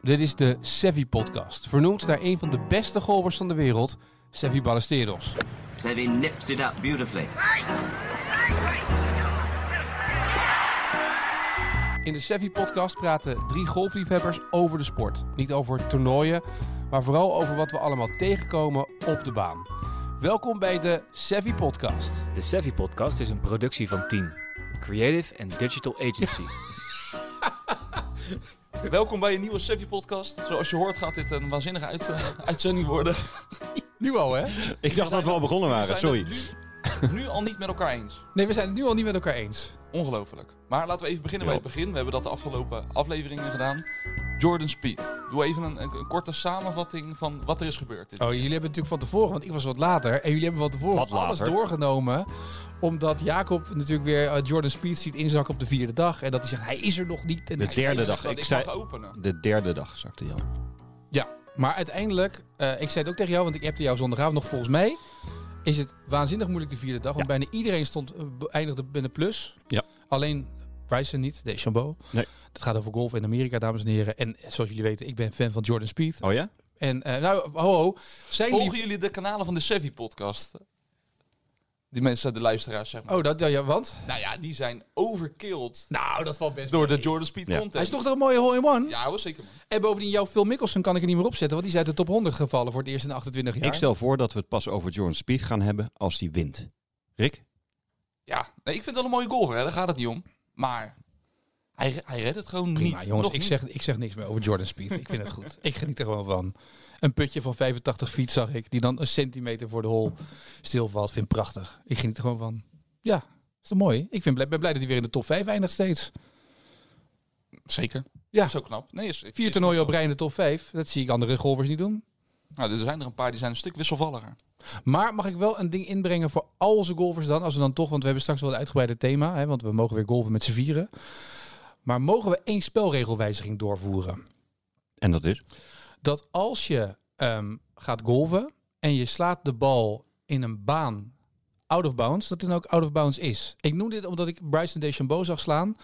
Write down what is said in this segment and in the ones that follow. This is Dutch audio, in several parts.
Dit is de Sevi Podcast, vernoemd naar een van de beste golvers van de wereld, Sevi Ballesteros. Sevi nips it up beautifully. In de Sevi Podcast praten drie golfliefhebbers over de sport. Niet over toernooien, maar vooral over wat we allemaal tegenkomen op de baan. Welkom bij de Sevi Podcast. De Sevi Podcast is een productie van Team, Creative and Digital Agency. Welkom bij een nieuwe Sevi podcast. Zoals je hoort gaat dit een waanzinnige uit- eh, uitzending worden. Nu al, hè? Ik dacht dat we al begonnen Ah, waren, zijn sorry. het nu, nu al niet met elkaar eens. Nee, we zijn het nu al niet met elkaar eens. Ongelooflijk. Maar laten we even beginnen bij het begin. We hebben dat de afgelopen afleveringen gedaan. Jordan Speed. Doe even een, een, een korte samenvatting van wat er is gebeurd. Dit. Oh, jullie hebben natuurlijk van tevoren, want ik was wat later. En jullie hebben van tevoren Wat alles later? doorgenomen. Omdat Jacob natuurlijk weer eh, Jordan Speed ziet inzakken op de vierde dag. En dat hij zegt, hij is er nog niet. En De hij- derde Hij zegt dag. dat Ik ik zei, mag openen. de derde dag, zegt hij al. Ja, maar uiteindelijk, eh, ik zei het ook tegen jou, want ik appte jou zondagavond nog. Volgens mij is het waanzinnig moeilijk de vierde dag. Want bijna iedereen stond, eh, be- eindigde met een plus. Ja. Alleen Bryson niet, Deschambeau. Nee. Het gaat over golf in Amerika, dames en heren. En eh, zoals jullie weten, ik ben fan van Jordan Speed. Oh ja? En eh, nou, ho, ho. Zijn lief... Volgen jullie de kanalen van de Sevi podcast? Die mensen, de luisteraars zeg maar. Oh, dat, ja, ja, want? Nou ja, die zijn overkilled Nou, dat valt best door de Jordan Speed Ja. content. Hij is toch een mooie hole-in-one? Ja hoor, zeker man. En bovendien, jouw Phil Mickelson kan ik er niet meer opzetten, want die is uit de top 100 gevallen voor het eerst in 28 jaar. Ik stel voor dat we het pas over Jordan Speed gaan hebben als die wint. Rick? Ja, nee, ik vind het wel een mooie golfer, hè? daar gaat het niet om. Maar hij, hij redt het gewoon Prima, niet. jongens, Nog ik niet. zeg, ik zeg niks meer over Jordan Speed. ik vind het goed. Ik geniet er gewoon van. Een putje van 85 feet zag ik, die dan een centimeter voor de hol stilvalt. Vind ik prachtig. Ik geniet er gewoon van. Ja, is toch mooi? Ik vind, blij- ben blij dat hij weer in de top 5 eindigt steeds. Zeker. Ja. Ja. Zo knap. Nee, is, Vier toernooien op rij in de top 5. Dat zie ik andere golfers niet doen. Nou, er zijn er een paar die zijn een stuk wisselvalliger. Maar mag ik wel een ding inbrengen voor al onze golfers dan? Als we dan toch, want we hebben straks wel een uitgebreide thema, hè, want we mogen weer golven met z'n vieren. Maar mogen we één spelregelwijziging doorvoeren? En dat is? Dat als je ehm, gaat golven en je slaat de bal in een baan out of bounds, dat die dan ook out of bounds is. Ik noem dit omdat ik Bryson DeChambeau zag slaan.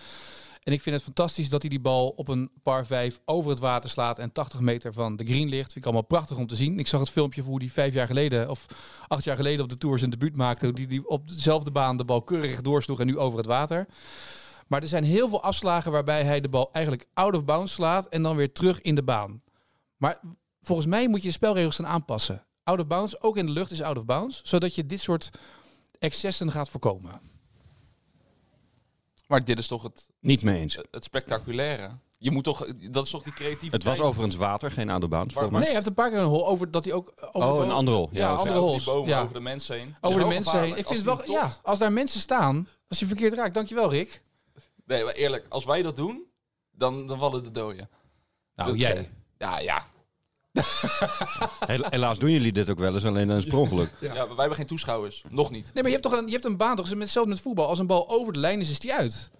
En ik vind het fantastisch dat hij die bal op een par 5 over het water slaat en 80 meter van de green ligt. Vind ik allemaal prachtig om te zien. Ik zag het filmpje van hoe hij vijf jaar geleden of acht jaar geleden op de Tour zijn debuut maakte. Hoe die, die op dezelfde baan de bal keurig doorsloeg en nu over het water. Maar er zijn heel veel afslagen waarbij hij de bal eigenlijk out of bounds slaat en dan weer terug in de baan. Maar volgens mij moet je de spelregels gaan aanpassen. Out of bounds, ook in de lucht is out of bounds. Zodat je dit soort excessen gaat voorkomen. Maar dit is toch het, Niet mee eens. het spectaculaire. Je moet toch, dat is toch die creativiteit. Het was overigens water, geen aan de baan, volgens Nee, mij. hij heeft een paar keer een hol over dat hij ook... Over Oh, een andere hol. Ja, Ja, dat is- andere Ja, over hols. die bomen, ja. over de mensen heen. Dat is Over de wel mensen heen. gevaarlijk. Ik Als vind het die wel, hem ja, als daar mensen staan, als je verkeerd raakt, dankjewel Rick. topt- Nee, maar eerlijk, als wij dat doen, dan, dan vallen de doden. Nou, Dat- jij. Ja, ja. Hel- Helaas doen jullie dit ook wel eens, alleen dan is het per ongeluk. ja. maar wij hebben geen toeschouwers. Nog niet. Nee, maar je hebt toch een, je hebt een baan, toch? Hetzelfde met voetbal. Als een bal over de lijn is, is die uit.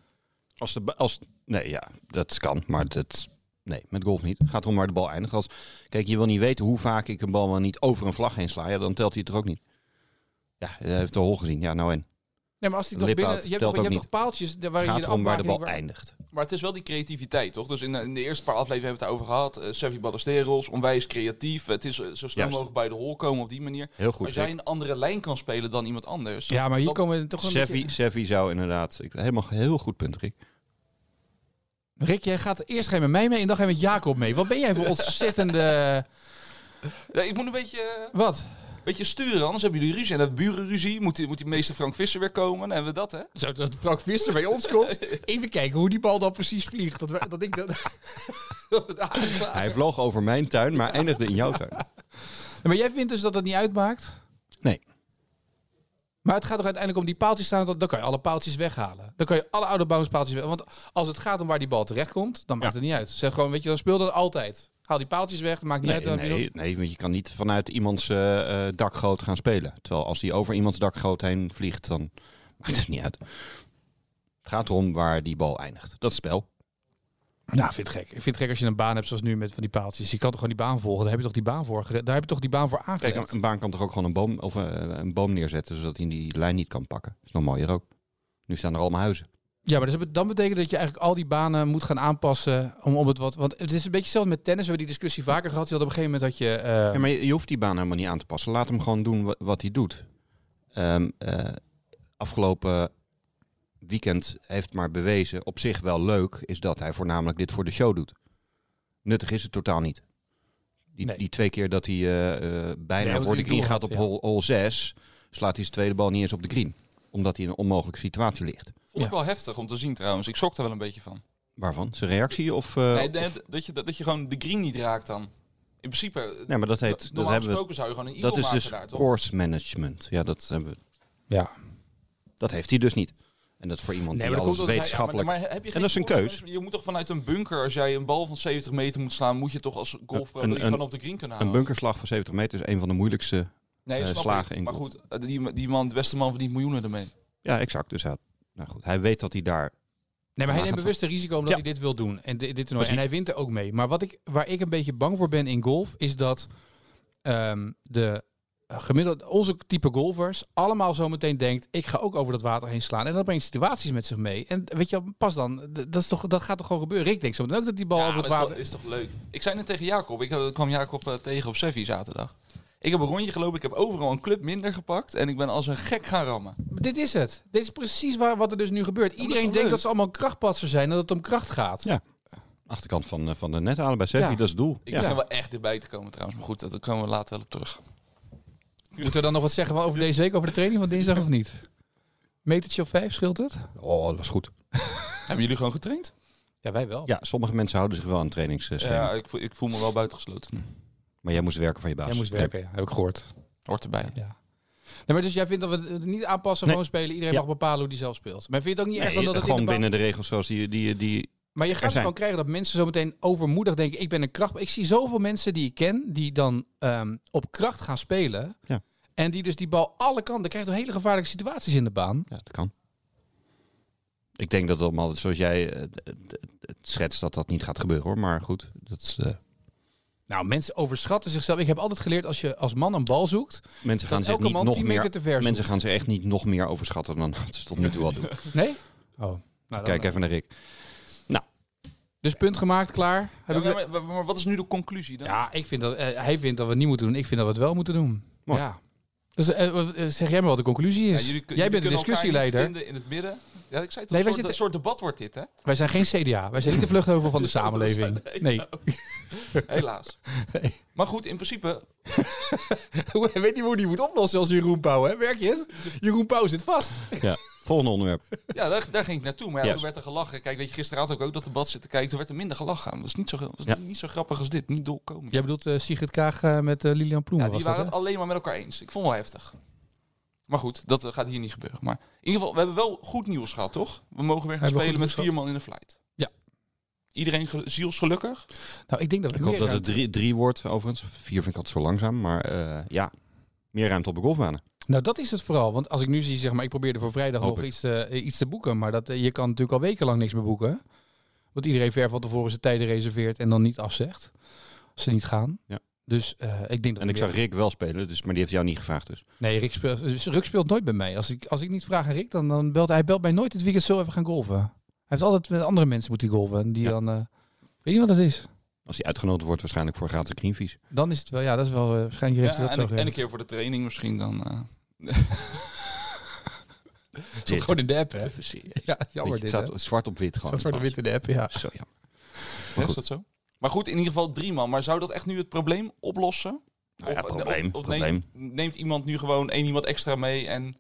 Als de, ba- als, nee, ja, dat kan, maar dat... Nee, met golf niet. Gaat erom waar de bal eindigt. Als, kijk, je wil niet weten hoe vaak ik een bal maar niet over een vlag heen sla. Ja, dan telt hij het er ook niet. Ja, hij heeft de hol gezien. Ja, nou en. Nee, maar als die toch Lip binnen... out Je hebt telt toch, je ook hebt toch paaltjes daar waar Het gaat je de erom waar de afmaking- bal eindigt. Maar het is wel die creativiteit, toch? Dus in, in de eerste paar afleveringen hebben we het over gehad. Eh Sevi Ballesteros, onwijs creatief. Het is eh, zo snel Juist. mogelijk bij de hol komen op die manier. Heel goed. Als jij Rick. een andere lijn kan spelen dan iemand anders. Ja, maar hier dat- komen we toch een Seffi, beetje- Seffi zou inderdaad... Ik, helemaal heel goed punt, Rick. Rick, jij gaat eerst geen met mij mee en dan ga je met Jacob mee. Wat ben jij voor ontzettende... Ja, ik moet een beetje, Wat? een beetje sturen, anders hebben jullie ruzie. En dat burenruzie, moet die, moet die meester Frank Visser weer komen. Dan hebben we dat, hè? Zo, dat Frank Visser bij ons komt. Even kijken hoe die bal dan precies vliegt. Dat, we- dat ik dat... dat we daar aanklagen. Hij vloog over mijn tuin, maar eindigde in jouw tuin. maar jij vindt dus dat het niet uitmaakt? Nee. Maar het gaat toch uiteindelijk om die paaltjes staan. Dan kan je alle paaltjes weghalen. Dan kan je alle oude bounce paaltjes weghalen. Want als het gaat om waar die bal terecht komt, dan maakt het niet uit. Zeg gewoon, weet je, dan speel dat altijd. Haal die paaltjes weg, dat maakt niet Nee, uit. Dan heb je nog- nee, nee, want je kan niet vanuit iemands eh, eh, dakgoot gaan spelen. Terwijl als die over iemands dakgoot heen vliegt, dan maakt het niet uit. Het gaat erom waar die bal eindigt. Dat is spel. Nou, ik vind het gek. Ik vind het gek als je een baan hebt zoals nu met van die paaltjes. Je kan toch gewoon die baan volgen. Daar heb je toch die baan voor, gere- daar heb je toch die baan voor Kijk, aangelegd. een, een baan kan toch ook gewoon een boom, of, eh, een boom neerzetten, zodat hij die lijn niet kan pakken. Is nog mooier ook. Nu staan er allemaal huizen. Ja, maar dus dat bet- dan betekent dat je eigenlijk al die banen moet gaan aanpassen om, om het wat... Want het is een beetje zelfs met tennis, we hebben die discussie vaker gehad. Je had op een gegeven moment dat je... eh, Ja, maar je, je hoeft die baan helemaal niet aan te passen. Laat hem gewoon doen wa- wat hij doet. Ehm, eh, afgelopen weekend heeft maar bewezen, op zich wel leuk, is dat hij voornamelijk dit voor de show doet. Nuttig is het totaal niet. Die, Nee. die twee keer dat hij eh, eh, bijna Nee, wat voor de hij green doel gaat had, op ja. hol, 6, slaat hij zijn tweede bal niet eens op de green. Omdat hij in een onmogelijke situatie ligt. Vond ik Ja. wel heftig om te zien trouwens. Ik schrok er wel een beetje van. Waarvan? Zijn reactie? Of, eh, nee, nee, of- dat, je, dat, dat je gewoon de green niet raakt dan. In principe, eh, nee, maar dat heet. Dat, normaal hebben we, gesproken zou je gewoon een eagle dat is maken dus daar, toch? course management. Ja, dat hebben we ja. Dat heeft hij dus niet. En dat voor iemand Nee, die maar dat alles komt omdat hij- ja, wetenschappelijk... Maar heb je geen dat is een course- keus. Je moet toch vanuit een bunker, als jij een bal van 70 meter moet slaan, moet je toch als golfpro Een- die een- gewoon op de green kunnen halen. een bunkerslag van 70 meter is een van de moeilijkste. nee, eh, snap ik. slagen in Maar golf. goed, eh, die, die man, de beste man verdient miljoenen ermee. Ja, exact. Dus hij, nou goed, hij weet dat hij daar... Nee, maar hij neemt gaat bewust een risico omdat Ja. hij dit wil doen. En dit, dit toernooi. Precies. En hij wint er ook mee. Maar wat ik, waar ik een beetje bang voor ben in golf, is dat ehm, de gemiddeld, onze type golfers allemaal zo meteen denkt, ik ga ook over dat water heen slaan. En dat brengt situaties met zich mee. En weet je, pas dan, d- dat, is toch, dat gaat toch gewoon gebeuren. Ik denk zo meteen ook dat die bal Ja, over maar het is toch- water... is toch leuk. Ik zei net tegen Jacob, ik eh, kwam Jacob eh, tegen op Seffi zaterdag. Ik heb een rondje gelopen, ik heb overal een club minder gepakt en ik ben als een gek gaan rammen. Maar Dit is het. Dit is precies waar, wat er dus nu gebeurt. is Iedereen toch denkt leuk? dat ze allemaal krachtpatser zijn en dat het om kracht gaat. Ja. Achterkant van, eh, van de net halen bij Seffi, Ja. dat is het doel. Ik Ja. ben wel echt erbij te komen trouwens, maar goed, dat- daar komen we later wel op terug. Moeten we dan nog wat zeggen over deze week, over de training van dinsdag of niet? Metertje of vijf, scheelt het? Oh, dat was goed. Hebben jullie gewoon getraind? Ja, wij wel. Ja, sommige mensen houden zich wel aan trainingsschema. Ja, ik voel, ik voel me wel buitengesloten. Maar jij moest werken van je baas. Jij moest Oké. werken, ja. heb ik gehoord. Hoort erbij. Nee, maar dus jij vindt dat we het niet aanpassen, Nee. gewoon spelen. Iedereen Ja. mag bepalen hoe die zelf speelt. Maar vind je het ook niet Nee, echt omdat het in gewoon de baan- binnen de regels zoals die... die, die Maar je er gaat zijn. gewoon krijgen dat mensen zometeen overmoedig denken, ik ben een kracht. Ik zie zoveel mensen die ik ken, die dan ehm, op kracht gaan spelen. Ja. En die dus die bal alle kanten, dan krijg je toch hele gevaarlijke situaties in de baan. ja, dat kan. Ik denk dat het allemaal, zoals jij eh, d- d- het schetst, dat dat niet gaat gebeuren hoor. Maar goed, dat is, eh, Nou, mensen overschatten zichzelf. Ik heb altijd geleerd, als je als man een bal zoekt, mensen gaan dat zich elke niet man nog 10 meter meer... te ver Mensen gaan zich echt niet nog meer overschatten dan dat ze tot nu toe al doen. zoekt. Nee? Oh. Nou, dan- Kijk even naar Rick. Dus punt gemaakt, klaar. Heb Ja, ik... maar, maar- maar wat is nu de conclusie dan? Ja, ik vind dat, eh, hij vindt dat we het niet moeten doen. Ik vind dat we het wel moeten doen. Mooi. Ja. Dus eh, wat- eh, zeg jij maar wat de conclusie Ja, is. jullie, jij kun- jullie bent de kunnen elkaar discussieleider. niet vinden in het midden. Ja, ik zei het Nee, wij een, soort, zitten- een soort debat wordt dit, hè? Wij zijn geen CDA. Wij zijn niet de vluchtheuvel van de samenleving. Nee. Helaas. Maar goed, in principe, Weet je hoe die moet oplossen als Jeroen Pauw, hè? Werk je het? Jeroen Pauw zit vast. Ja, volgende onderwerp. ja, daar, daar ging ik naartoe. Maar ja, Ja. toen werd er gelachen. Kijk, weet je, gisteravond ook, ook dat debat zitten kijken. Toen werd er minder gelachen. Dat was niet zo, was Ja. niet zo grappig als dit. Niet dolkomisch. Jij bedoelt eh, Sigrid Kaag eh, met eh, Lilian Ploemen, Ja, die was dat, waren het alleen maar met elkaar eens. Ik vond het wel heftig. Maar goed, dat eh, gaat hier niet gebeuren. Maar in ieder geval, we hebben wel goed nieuws gehad, toch? We mogen weer Hebben gaan we spelen goed met nieuws vier man in de flight. Ja. Iedereen ge- zielsgelukkig. hè? Nou, ik denk dat we Ik hoop meer dat het ruimte- drie, drie wordt, overigens. Vier vind ik altijd zo langzaam, maar eh, ja. Meer ruimte op de golfbanen. Nou, dat is het vooral. Want als ik nu zie, zeg maar, ik probeerde voor vrijdag Hoop nog ik. iets, eh, iets te boeken. Maar dat, eh, je kan natuurlijk al wekenlang niks meer boeken. Want iedereen ver van tevoren zijn tijden reserveert en dan niet afzegt. Als ze niet gaan. Ja. Dus eh, ik denk dat... En we ik weer- zag Rick wel spelen, dus, maar die heeft jou niet gevraagd dus. Nee, Rick speelt, dus Rick speelt nooit bij mij. Als ik, als ik niet vraag aan Rick, dan, dan belt hij- hij belt mij nooit het weekend zo even gaan golven. Hij heeft altijd met andere mensen moeten golven. En die Ja. dan... eh, weet je wat dat is? Als hij uitgenodigd wordt, waarschijnlijk voor gratis knievies. Dan is het wel... Ja, dat is wel... eh, waarschijnlijk heeft Ja, hij dat en, zo een- en een geregeld. keer voor de training misschien dan. eh. Zit gewoon in de app, hè? Even serieus. Ja, Weet je, jammer het dit, hè? staat zwart op wit gewoon. Dat soort wit in de app, ja. Zo jammer. Ja, goed. Is dat zo? Maar goed, in ieder geval drie man. Maar zou dat echt nu het probleem oplossen? Nou ja, Of- probleem, of- of probleem. Neemt, neemt iemand nu gewoon één iemand extra mee en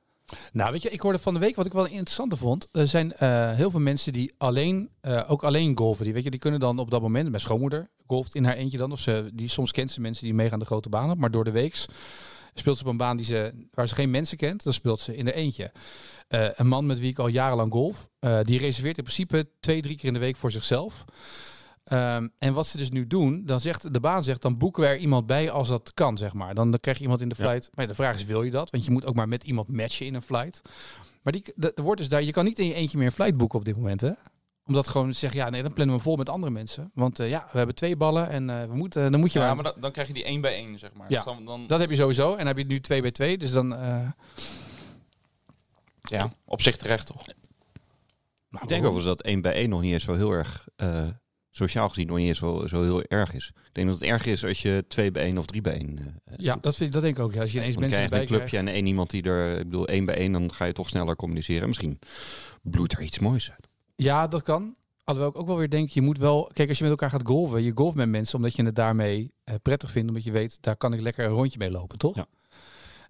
Nou, weet je, ik hoorde van de week wat ik wel interessant vond. Er zijn eh, heel veel mensen die alleen, eh, ook alleen golven. Die, weet je, die kunnen dan op dat moment, mijn schoonmoeder golft in haar eentje dan. Of ze, die, soms kent ze mensen die meegaan de grote banen. Maar door de weeks speelt ze op een baan die ze, waar ze geen mensen kent. Dan speelt ze in haar eentje. Eh, een man met wie ik al jarenlang golf, eh, die reserveert in principe twee, drie keer in de week voor zichzelf. Ehm, en wat ze dus nu doen, dan zegt de baan zegt, dan boeken we er iemand bij als dat kan, zeg maar. Dan, dan krijg je iemand in de Ja. flight. Maar de vraag is, wil je dat? Want je moet ook maar met iemand matchen in een flight. Maar die, de, er wordt dus daar, je kan niet in je eentje meer een flight boeken op dit moment, hè? Omdat gewoon zeggen, ja, nee, dan plannen we vol met andere mensen. Want eh, ja, we hebben twee ballen en eh, we moeten, dan moet je ja, maar maar dan, dan krijg je die één bij één, zeg maar. Ja. Dus dan, dan, dat heb je sowieso. En dan heb je nu twee bij twee. Dus dan. eh, ja, op zich terecht toch? ik denk overigens dat één bij één nog niet eens zo heel erg, eh, sociaal gezien, nog niet eens zo, zo heel erg is. Ik denk dat het erg is als je twee bij één of drie bij één. eh, Ja, dat, vind, dat denk ik ook. ja. Als je ineens Want dan mensen krijg je erbij een krijgt. clubje en één iemand die er, ik bedoel, één bij één, dan ga je toch sneller communiceren. Misschien bloedt er iets moois uit. Ja, dat kan. Alhoewel ik ook wel weer denk, je moet wel... Kijk, als je met elkaar gaat golven, je golft met mensen omdat je het daarmee eh, prettig vindt. Omdat je weet, daar kan ik lekker een rondje mee lopen, toch? Ja.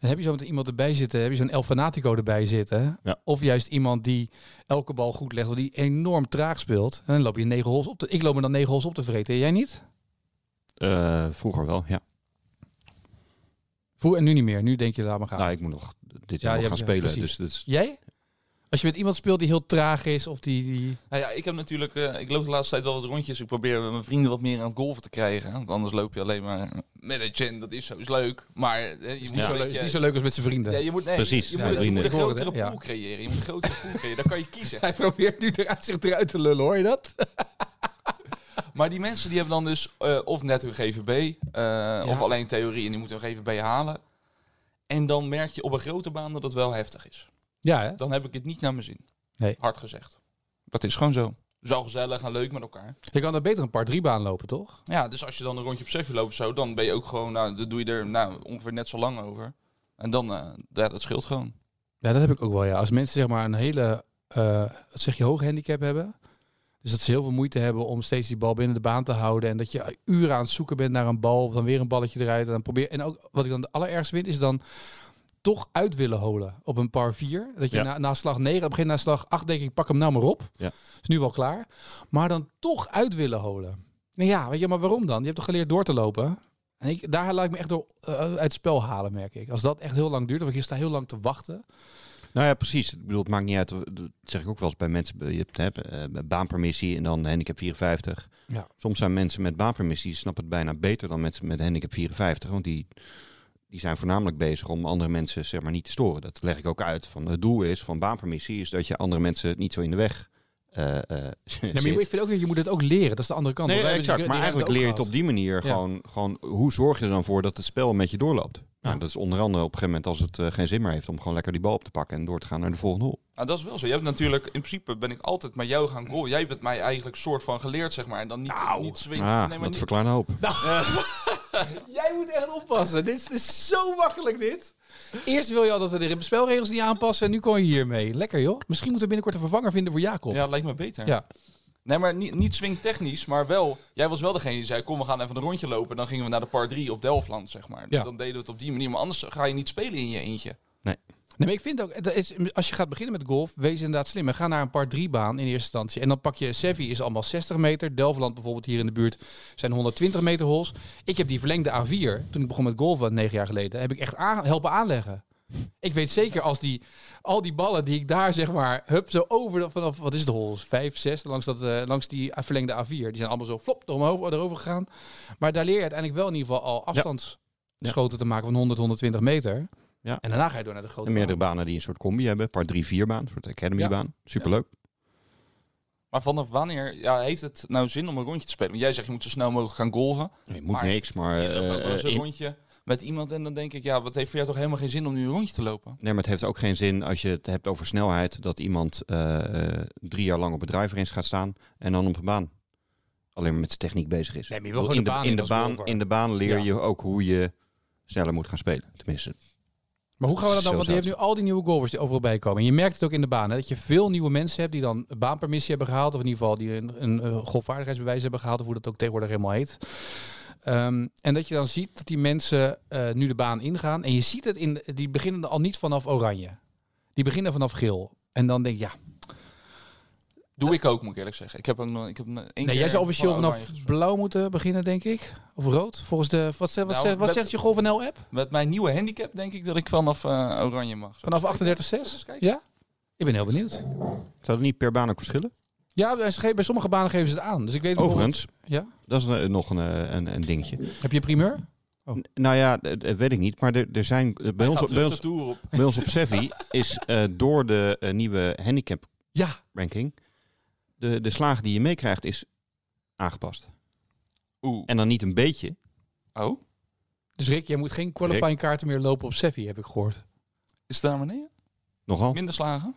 En heb je zo met iemand erbij zitten, heb je zo'n El Fanatico erbij zitten. Ja. Of juist iemand die elke bal goed legt, of die enorm traag speelt. En dan loop je negen hols op te... Ik loop me dan negen hols op te vreten, jij niet? Eh, vroeger wel, ja. Vroeger en nu niet meer. Nu denk je, laat maar gaan. Nou, ik moet nog dit Ja, jaar je nog gaan hebt- ja, spelen. precies. dus dat is Jij? Als je met iemand speelt die heel traag is, of die... die... Nou ja, ik heb natuurlijk, eh, ik loop de laatste tijd wel wat rondjes. Ik probeer mijn vrienden wat meer aan het golven te krijgen. Want anders loop je alleen maar met een gin. Dat is zo is leuk. Maar eh, je moet Niet, zo zo leuk, leuk. is niet zo leuk als met zijn vrienden. ja, je moet, nee, Precies, Je, ja, moet, je vrienden. moet een Ik hoor het, grotere hè? pool creëren. Je moet een grotere pool creëren. Dan kan je kiezen. Hij probeert nu eruit, zich eruit te lullen, hoor je dat? Maar die mensen die hebben dan dus eh, of net hun GVB, eh, of alleen theorie en die moeten hun GVB halen. En dan merk je op een grote baan dat het wel heftig is. Ja, hè? Dan heb ik het niet naar mijn zin. Nee. Hard gezegd. Dat is gewoon zo. Het is wel gezellig en leuk met elkaar. Je kan er beter een paar drie baan lopen, toch? Ja, dus als je dan een rondje op Seffi loopt of zo, dan ben je ook gewoon, nou, dan doe je er nou, ongeveer net zo lang over. En dan, eh, ja, dat scheelt gewoon. Ja, dat heb ik ook wel, ja. Als mensen zeg maar een hele, eh wat zeg je, hoog handicap hebben... Dus dat ze heel veel moeite hebben om steeds die bal binnen de baan te houden. En dat je uren aan het zoeken bent naar een bal. Of dan weer een balletje eruit. En, dan probeer... en ook wat ik dan de allerergste vind, is dan toch uit willen holen op een par 4. Dat je Ja. na, na slag 9, op een gegeven moment na slag 8 denk ik, pak hem nou maar op. Ja. Is nu wel klaar. Maar dan toch uit willen holen. Nou ja, weet je, maar waarom dan? Je hebt toch geleerd door te lopen? En ik, daar laat ik me echt door eh, uit het spel halen, merk ik. Als dat echt heel lang duurt, dan ik sta heel lang te wachten. Nou ja, precies. Ik bedoel, het maakt niet uit. Dat zeg ik ook wel eens bij mensen. Je hebt hè, eh, baanpermissie en dan handicap 54. Ja. Soms zijn mensen met baanpermissie, die snappen het bijna beter dan mensen met handicap 54. Want die, die zijn voornamelijk bezig om andere mensen zeg maar, niet te storen. Dat leg ik ook uit. Van, het doel is van baanpermissie is dat je andere mensen niet zo in de weg eh eh, zit. Ja, maar ik vind ook, je moet het ook leren. Dat is de andere kant. Nee, Want wij hebben die- exact. die maar ruimte ook eigenlijk leer je het gehad. op die manier Ja. gewoon, gewoon... Hoe zorg je er dan voor dat het spel met je doorloopt? Nou, Ja. dat is onder andere op een gegeven moment als het eh, geen zin meer heeft... om gewoon lekker die bal op te pakken en door te gaan naar de volgende hol. Nou, dat is wel zo. Je hebt natuurlijk, in principe ben ik altijd met jou gaan goal. Jij bent mij eigenlijk soort van geleerd, zeg maar. En dan niet, niet swingen. Ah, nee, maar dat niet- verklaart een hoop. Jij moet echt oppassen. Dit is, dit is zo makkelijk, dit. Eerst wil je al dat we de spelregels niet aanpassen. En nu kon je hiermee. Lekker, joh. Misschien moeten we binnenkort een vervanger vinden voor Jacob. Ja, dat lijkt me beter. Ja. Nee, maar niet, niet swingtechnisch, maar wel... Jij was wel degene die zei, kom, we gaan even een rondje lopen. En dan gingen we naar de par 3 op Delftland, zeg maar. Ja. Dan deden we het op die manier. Maar anders ga je niet spelen in je eentje. Nee, maar ik vind ook, dat is, als je gaat beginnen met golf, wees inderdaad slim. En ga naar een par 3 baan in eerste instantie. En dan pak je, Sevi is allemaal 60 meter. Delftland bijvoorbeeld hier in de buurt zijn 120 meter holes. Ik heb die verlengde A4, toen ik begon met golfen negen jaar geleden, heb ik echt aan, helpen aanleggen. Ik weet zeker als die, al die ballen die ik daar zeg maar, hup, zo over, de- vanaf, wat is de holes? 5, 6, langs, dat, eh, langs die verlengde A4. Die zijn allemaal zo flop door omhoog, erover gegaan. Maar daar leer je uiteindelijk wel in ieder geval al afstandsschoten te maken van 100, 120 meter. Ja. En daarna ga je door naar de grote En meerdere baan. banen die een soort combi hebben. Een paar drie, vier baan. Een soort academybaan. Superleuk. Maar vanaf wanneer ja, heeft het nou zin om een rondje te spelen? Want jij zegt, je moet zo snel mogelijk gaan golven. Je moet Maar- niks, maar... Je loopt ook wel eh, eens een in- rondje met iemand. En dan denk ik, ja, wat heeft voor jou toch helemaal geen zin om nu een rondje te lopen? Nee, maar het heeft ook geen zin als je het hebt over snelheid... dat iemand eh, eh, drie jaar lang op het driver eens gaat staan... en dan op een baan. Alleen maar met zijn techniek bezig is. Nee, maar je wil Ik bedoel, gewoon de baan in, in de als baan, golfer. in de baan leer Ja. je ook hoe je sneller moet gaan spelen. Tenminste, Maar hoe gaan we dat dan? Zo Want je zou hebt nu al die nieuwe golfers die overal bij komen. En je merkt het ook in de baan. Hè, dat je veel nieuwe mensen hebt die dan een baanpermissie hebben gehaald. Of in ieder geval die een, een eh, golfvaardigheidsbewijs hebben gehaald. Of hoe dat ook tegenwoordig helemaal heet. Ehm, en dat je dan ziet dat die mensen eh, nu de baan ingaan. En je ziet het in. Die beginnen al niet vanaf oranje. Die beginnen vanaf geel. En dan denk je, ja. Doe ik ook, moet ik eerlijk zeggen. Ik heb ook nog, ik heb één keer Eh, Nee, jij zou officieel oranje vanaf gespeeld. blauw moeten beginnen, denk ik. Of rood. Volgens de. Wat, zegt- wat, Nou, zegt- wat met- zegt je Golf NL app? Met mijn nieuwe handicap denk ik dat ik vanaf eh, oranje mag. Vanaf Eens 38,6? kijken. Ja? Ik ben heel benieuwd. zou het niet per baan ook verschillen? Ja, bij sommige- bij sommige banen geven ze het aan. Dus ik weet bijvoorbeeld- Overigens, Ja? dat is eh, nog een, eh, een, een dingetje. Heb je een primeur? N- Nou ja, dat dat weet ik niet. Maar er, er zijn eh, bij ons, Gaat op- bij, terug de ons, tour op. bij ons op Sevi is eh, door de eh, nieuwe handicap Ja. ranking de, de slagen die je meekrijgt is aangepast. Oeh. En dan niet een beetje. Oh, Dus Rick, jij moet geen qualifying kaarten meer lopen op Seffi, heb ik gehoord. is het daar beneden? Oh. Nogal. Minder slagen?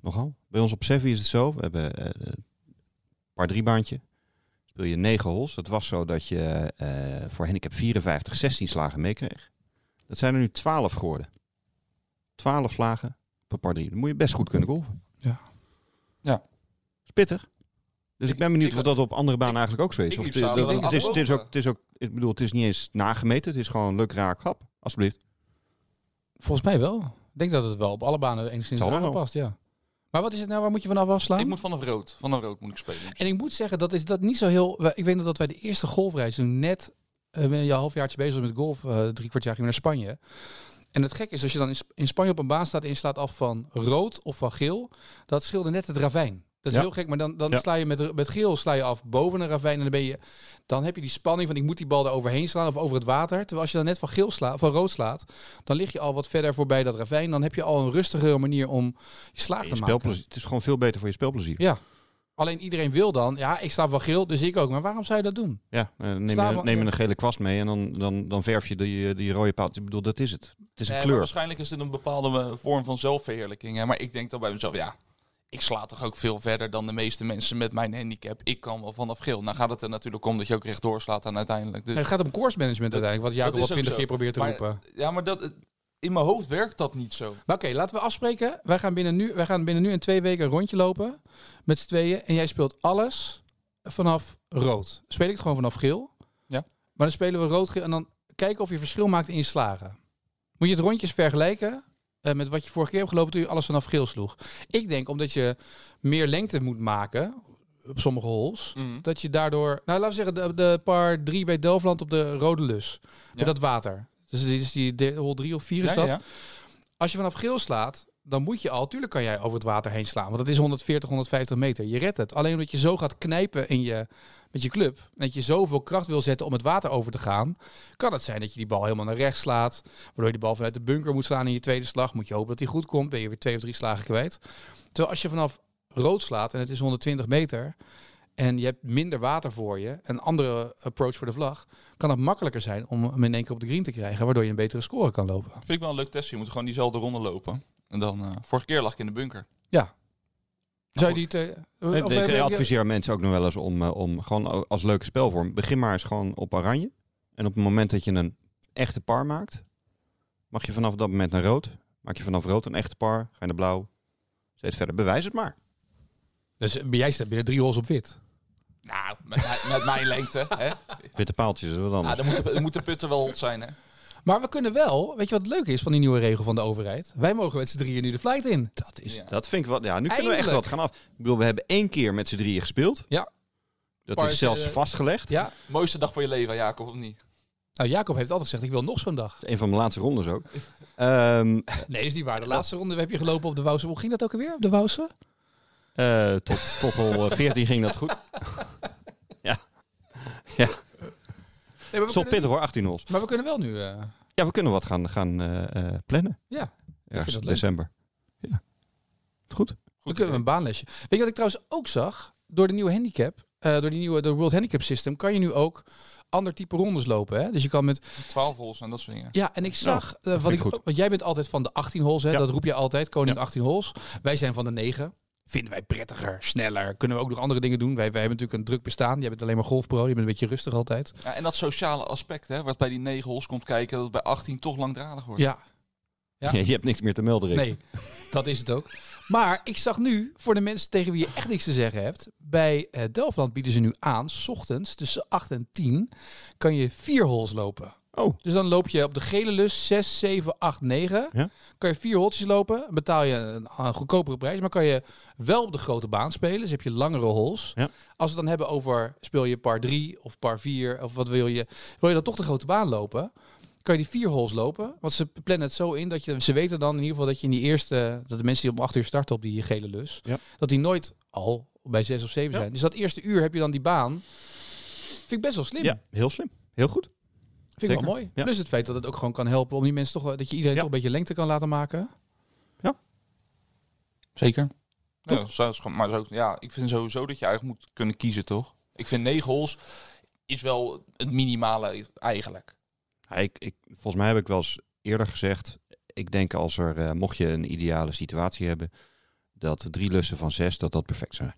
Nogal. Bij ons op Sevi is het zo. We hebben eh, een paar drie baantje. Speel je negen holes. Dat was zo dat je eh, voor handicap 54 16 slagen meekreeg. Dat zijn er nu 12 geworden. 12 slagen per par drie. Dan moet je best goed kunnen golven. Ja. Ja. Spittig. Dus ik, Ik- ben benieuwd ik- of dat op andere banen eigenlijk ook zo is. ik Of liep de- zaterdag dat- het, is, het, is ook, afgelopen. het is ook, ik bedoel, het is niet eens nagemeten. Het is gewoon luk, raak, hap. Alsjeblieft. Volgens mij wel. Ik denk dat het wel op alle banen enigszins Zal wel. aangepast, ja. Maar wat is het nou? Waar moet je vanaf afslaan? Ik moet vanaf rood. Vanaf rood moet ik spelen. En ik moet zeggen, dat is dat niet zo heel... wij- Ik weet nog dat wij de eerste golfreis toen net... eh een halfjaartje bezig was met golf. eh drie kwart jaar gingen we naar Spanje. En het gek is, als je dan in, Sp- in Spanje op een baan staat... en je slaat af van rood of van geel... dat scheelde net het ravijn. Dat is Ja. heel gek, maar dan, dan Ja. sla je met, met geel sla je af boven een ravijn... en dan, ben je, dan heb je die spanning van ik moet die bal er overheen slaan of over het water. Terwijl als je dan net van, geel sla, van rood slaat... dan lig je al wat verder voorbij dat ravijn. Dan heb je al een rustigere manier om je slaag te Je maken. spelplezier, het is gewoon veel beter voor je spelplezier. Ja. Alleen iedereen wil dan, ja, ik sta van geel, dus ik ook. Maar waarom zou je dat doen? Ja, eh, neem, Slaan je, we- neem je ja. een gele kwast mee en dan, dan, dan verf je die, eh, die rode paal. Ik bedoel, dat is het. Het is Nee, een maar kleur. eh, waarschijnlijk is het een bepaalde eh, vorm van zelfverheerlijking. Hè? Maar ik denk dan bij mezelf, ja, ik sla toch ook veel verder dan de meeste mensen met mijn handicap. Ik kan wel vanaf geel. Nou gaat het er natuurlijk om dat je ook rechtdoor slaat aan uiteindelijk. Dus, het gaat om course management uiteindelijk, wat Jacob is al ook twintig zo. keer probeert te Maar- roepen. ja, maar dat, eh, in mijn hoofd werkt dat niet zo. Maar oké, laten we afspreken. Wij gaan, binnen nu, wij gaan binnen nu en twee weken een rondje lopen met z'n tweeën. En jij speelt alles vanaf rood. Speel ik het gewoon vanaf geel. Ja. Maar dan spelen we rood-geel en dan kijken of je verschil maakt in je slagen. Moet je het rondjes vergelijken eh, met wat je vorige keer hebt gelopen toen je alles vanaf geel sloeg. Ik denk omdat je meer lengte moet maken op sommige holes. Mhm. Dat je daardoor, nou laten we zeggen, de, de par 3 bij Delftland op de Rode Lus. Ja. Met dat water. Dus dit is die de, hol 3 of 4 is Ja, dat. ja, ja. Als je vanaf geel slaat, dan moet je al, tuurlijk kan jij over het water heen slaan. Want dat is 140, 150 meter. Je redt het. Alleen omdat je zo gaat knijpen in je, met je club. en Dat je zoveel kracht wil zetten om het water over te gaan. Kan het zijn dat je die bal helemaal naar rechts slaat. Waardoor je de bal vanuit de bunker moet slaan in je tweede slag. Moet je hopen dat die goed komt. Ben je weer twee of drie slagen kwijt. Terwijl als je vanaf rood slaat en het is 120 meter. En je hebt minder water voor je, een andere approach voor de vlag, kan het makkelijker zijn om hem in één keer op de green te krijgen, waardoor je een betere score kan lopen. Vind ik wel een leuk testje. Je moet gewoon diezelfde ronde lopen. En dan, eh, vorige keer lag ik in de bunker. Zou je die te, of- Ik, of- ik heb je- adviseer mensen ook nog wel eens om, eh, om gewoon als leuke spelvorm. Begin maar eens gewoon op oranje. En op het moment dat je een echte par maakt, mag je vanaf dat moment naar rood. Maak je vanaf rood een echte par, ga je naar blauw. Steeds verder. Bewijs het maar. Dus eh, jij staat binnen drie holes op wit. Nou, met, mijn- met mijn lengte. Hè? Witte paaltjes is wat Ja, anders. dan moet, de, dan moet de putter wel hot zijn. Hè? Maar we kunnen wel, weet je wat leuk is van die nieuwe regel van de overheid? Wij mogen met z'n drieën nu de flight in. Dat, is, Ja. dat vind ik wel. Ja, nu kunnen we echt Eindelijk. wat gaan af. Ik bedoel, we hebben één keer met z'n drieën gespeeld. Ja. Dat Par is is, zelfs eh, vastgelegd. Ja. Mooiste dag van je leven, Jacob, of niet? Nou, Jacob heeft altijd gezegd, ik wil nog zo'n dag. Een van mijn laatste rondes ook. Ehm Nee, is niet waar. De laatste ronde heb je gelopen op de Wouwse. Hoe ging dat ook alweer? Op de Wouwse? Eh, tot, tot al eh, 14 ging dat goed. Nee, maar, we Stop kunnen, pittig hoor, 18 hols. maar we kunnen wel nu... eh, Ja, we kunnen wat gaan, gaan eh, eh, plannen. ja, Ergens dat leuk. december. Ja. Goed. we kunnen we een baanlesje. Weet je wat ik trouwens ook zag? Door de nieuwe handicap, eh, door die nieuwe de World Handicap System, kan je nu ook ander type rondes lopen. Hè? Dus je kan met 12 holes en dat soort dingen. Ja, en ik zag, eh, wat Nou, vind ik, ik goed. want jij bent altijd van de 18 holes, hè? Ja. dat roep je altijd, koning 18 holes. Wij zijn van de 9. Vinden wij prettiger, sneller, kunnen we ook nog andere dingen doen. Wij, wij hebben natuurlijk een druk bestaan, jij bent alleen maar golfpro, je bent een beetje rustig altijd. Ja, en dat sociale aspect, hè, wat bij die 9 holes komt kijken, dat het bij 18 toch langdradig wordt. Ja, Ja. Je hebt niks meer te melden, Rick. nee, dat is het ook. Maar ik zag nu, voor de mensen tegen wie je echt niks te zeggen hebt, bij eh, Delftland bieden ze nu aan, 's ochtends tussen 8 en 10, kan je vier holes lopen. Oh, Dus dan loop je op de gele lus 6, 7, 8, 9. Ja. Kan je vier holtjes lopen. Betaal je een, een goedkopere prijs. Maar kan je wel op de grote baan spelen. Dus heb je langere holes. Ja. Als we het dan hebben over speel je par 3 of par 4. Of wat wil je. Wil je dan toch de grote baan lopen? Kan je die vier holes lopen? Want ze plannen het zo in dat je. Ze weten dan in ieder geval dat je in die eerste. Dat de mensen die om 8 uur starten op die gele lus. Ja. Dat die nooit al bij 6 of 7 Ja. zijn. Dus dat eerste uur heb je dan die baan. Vind ik best wel slim. ja. Heel slim. Heel goed. Vind ik Zeker, wel mooi. ja. Plus het feit dat het ook gewoon kan helpen om die mensen toch wel- dat je iedereen Ja. toch een beetje lengte kan laten maken. Zeker. Toch? Ja, zo is gewoon- maar zo, ja, ik vind sowieso dat je eigenlijk moet kunnen kiezen, toch? Ik vind 9 holes is wel het minimale eigenlijk. Ja, ik, ik, volgens mij heb ik wel eens eerder gezegd. Ik denk als er, eh, mocht je een ideale situatie hebben. dat drie lussen van zes, dat dat perfect zijn.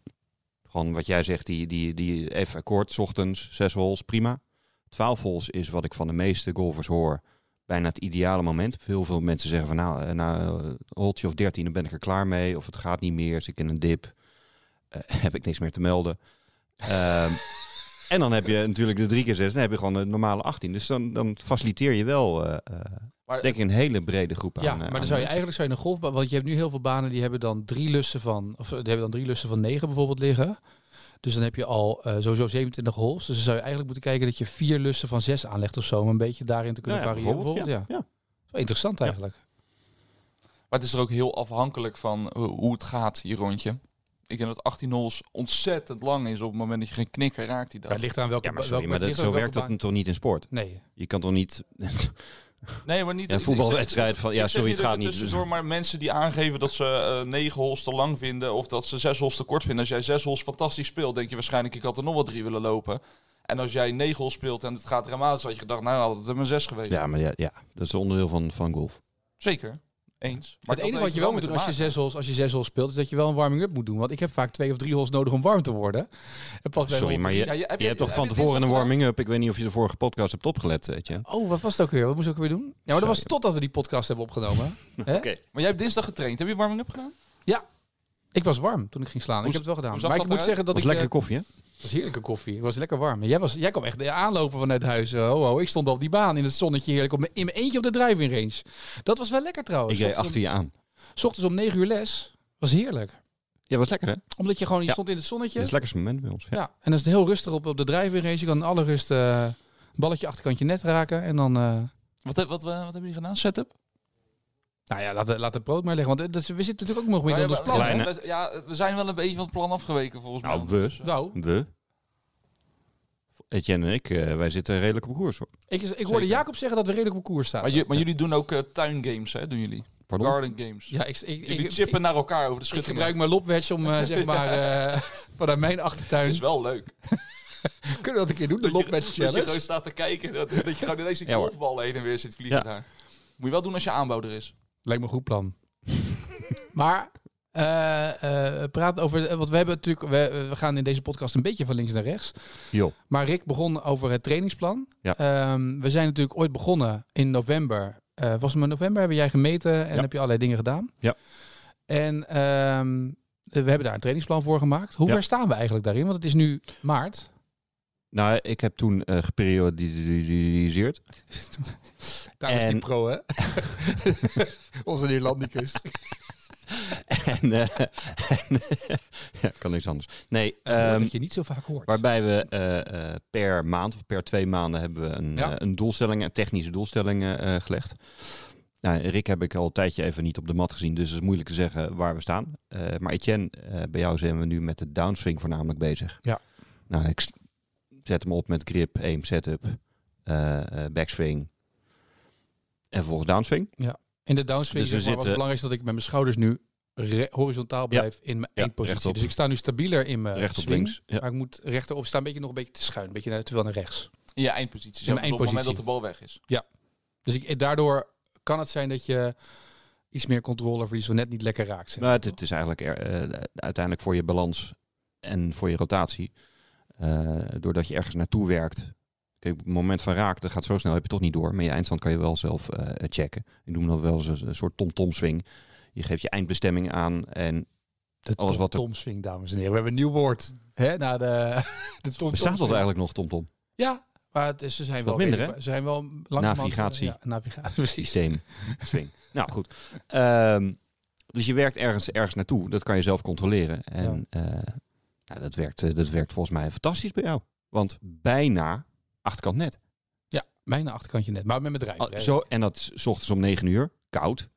Gewoon wat jij zegt, die, die, die even akkoord, 's ochtends, zes holes, prima. Twaalf holes is wat ik van de meeste golfers hoor, bijna het ideale moment. Heel veel mensen zeggen van nou, eh, na een holtje of dertien, dan ben ik er klaar mee. Of het gaat niet meer, zit ik in een dip. Eh, heb ik niks meer te melden. Ehm, en dan heb je natuurlijk de drie keer zes, dan heb je gewoon een normale 18. Dus dan, dan faciliteer je wel, eh, eh, Maar- denk ik, een hele brede groep aan. Ja, eh, maar aan dan zou je mensen. eigenlijk zou je een golfbaan, want je hebt nu heel veel banen die hebben dan drie lussen van, of eh, die hebben dan drie lussen van negen bijvoorbeeld liggen. Dus dan heb je al eh, sowieso 27 holes. Dus dan zou je eigenlijk moeten kijken dat je vier lussen van zes aanlegt of zo, om een beetje daarin te kunnen Nou ja, variëren. Bijvoorbeeld, ja. ja. Wel Interessant eigenlijk. Maar het is er ook heel afhankelijk van ho- hoe het gaat, je rondje. Ik denk dat 18 holes ontzettend lang is op het moment dat je geen knikker raakt die Ja, dag. het ligt aan welke Ja, maar ba- sorry, welke- maar het dat, ligt zo aan welke werkt dat baan- toch niet in sport? Nee. Je kan toch niet nee, maar niet een voetbalwedstrijd van... Ja, sorry, het gaat niet. Dus- Tussendoor, maar mensen die aangeven dat ze eh, negen holes te lang vinden of dat ze zes holes te kort vinden. Als jij zes holes fantastisch speelt, denk je waarschijnlijk ik had er nog wel drie willen lopen. En als jij negen holes speelt en het gaat dramatisch, had je gedacht, nou dan had het er maar zes geweest. Ja, maar ja, ja, dat is onderdeel van, van golf. Zeker, eens. Maar Maar het dat enige heeft wat je er wel moet met doen te als je, maken. zes holes, als je zes holes speelt, is dat je wel een warming-up moet doen. Want ik heb vaak twee of drie holes nodig om warm te worden. En pas bij Sorry, hol maar je, Ja, je- heb je, je- hebt toch heb van je tevoren een dinsdag gedaan? warming-up? Ik weet niet of je de vorige podcast hebt opgelet, weet je. Oh, wat was het ook weer? Wat moest ik ook weer doen? Ja, maar dat was Sorry. totdat we die podcast hebben opgenomen. Maar jij hebt dinsdag getraind. Heb je warming-up gedaan? Ik was warm toen ik ging slaan. Hoe ik heb het wel hoe gedaan. zag Maar ik dat moet eruit? zeggen Dat dat was ik... eh, lekkere koffie, hè? het was heerlijke koffie. Het was lekker warm. En Jij, was, jij kwam echt aanlopen vanuit huis. Eh, Ho, ho, ik stond op die baan in het zonnetje heerlijk op mijn, in mijn eentje op de driving range. Dat was wel lekker trouwens. Ik reed Ochtends achter je aan. om- Ochtends om negen uur les. Was heerlijk. Ja, was lekker, hè? Omdat je gewoon, je Ja. stond in het Dat zonnetje. is het lekkerste moment bij ons. Ja. Ja, en dan is het heel rustig op, op de driving range. Je kan in alle rust eh, een balletje achterkantje net raken. En dan... eh, Wat, wat, wat, wat hebben jullie gedaan? Setup? nou ja, laat, de- laat de brood maar liggen. Want eh, dat is- we zitten natuurlijk ook nog Nou midden ja, in ons maar- plan. hè? Kleine. we- Ja, we zijn wel een beetje van het plan afgeweken volgens Nou, mij. we. Dus, eh, Nou, We, Etienne en ik, eh, wij zitten redelijk op koers, hoor. ik, ik hoorde Zeker. Jacob zeggen dat we redelijk op koers staan. Maar, ju- maar jullie doen ook eh, tuingames, hè? Doen jullie? Pardon? Garden games. ja, ik, ik, jullie ik, chippen naar elkaar over de Ik schutting. gebruik mijn lopwedge om eh, zeg maar eh, vanuit mijn achtertuin. Dat is wel leuk. Kunnen Dus we dat een keer doen? De Dat je- lopwedge Dat je gewoon challenge. staat te kijken. Dat, dat je gewoon ineens die Ja, hoor. golfbal heen en weer zit vliegen Ja. daar. Moet je wel doen als je aanbouw er is. Lijkt me een goed plan. maar eh, eh, praat over, eh, want we hebben natuurlijk, we, we gaan in deze podcast een beetje van links naar rechts. Jo. Maar Rick begon over het trainingsplan. Ja. Ehm, we zijn natuurlijk ooit begonnen in november. Eh was het maar november hebben jij gemeten en Ja. heb je allerlei dingen gedaan. Ja. En ehm, we hebben daar een trainingsplan voor gemaakt. Hoe Ja. ver staan we eigenlijk daarin? Want het is nu maart. Nou, ik heb toen eh geperiodiseerd. Daar is die En- pro, hè? Onze Nederlandicus. en, eh, ja, kan niks anders. Nee, ehm, dat je niet zo vaak hoort. Waarbij we eh, eh, per maand of per twee maanden hebben we een, Ja. eh, een doelstelling, een technische doelstelling eh, eh, gelegd. Nou, Rick heb ik al een tijdje even niet op de mat gezien, dus het is moeilijk te zeggen waar we staan. Eh, maar Etienne, eh, bij jou zijn we nu met de downswing voornamelijk bezig. Ja. Nou, ik s- zet hem op met grip, aim, setup, eh, eh, backswing en vervolgens downswing. In de downswing Dus zeg maar, was we het zitten- belangrijkste dat ik met mijn schouders nu re- horizontaal blijf in mijn Ja, eindpositie. rechtop. Dus ik sta nu stabieler in mijn Recht op Eh, swing, links. Ja. Maar ik moet rechterop staan, een beetje nog een beetje te schuin. Een beetje naar, terwijl naar rechts. In je eindpositie. In Zelfs mijn op het moment dat de eindpositie. bal weg is. Dus ik, daardoor kan het zijn dat je iets meer controle verliest, of net niet lekker raakt. zeg Nou, maar, het, het is eigenlijk eh, eh, uiteindelijk voor je balans en voor je rotatie. eh, doordat je ergens naartoe werkt. Kijk, op het moment van raak, dat gaat zo snel, heb je toch niet door. Maar je eindstand kan je wel zelf eh, checken. Ik noem dat wel eens een, een soort tom-tom swing. Je geeft je eindbestemming aan en de alles tom, wat er- tom swing, dames en heren. We hebben een nieuw woord. Hè? Na de, de tom, bestaat dat eigenlijk nog tom-tom Ja, maar het is, ze zijn Wat wel minder, redelijk- ze zijn wel langzamerhand- Navigatie. Ja, navigatie, precies. systeem swing. nou goed. Ehm, dus je werkt ergens, ergens naartoe. Dat kan je zelf controleren. En eh, nou, dat, werkt, eh, dat werkt volgens mij fantastisch bij jou. Want bijna achterkant net. Ja, bijna achterkantje net, maar met mijn drijver. Oh, hè. zo, en dat is 's ochtends om 9 uur, koud.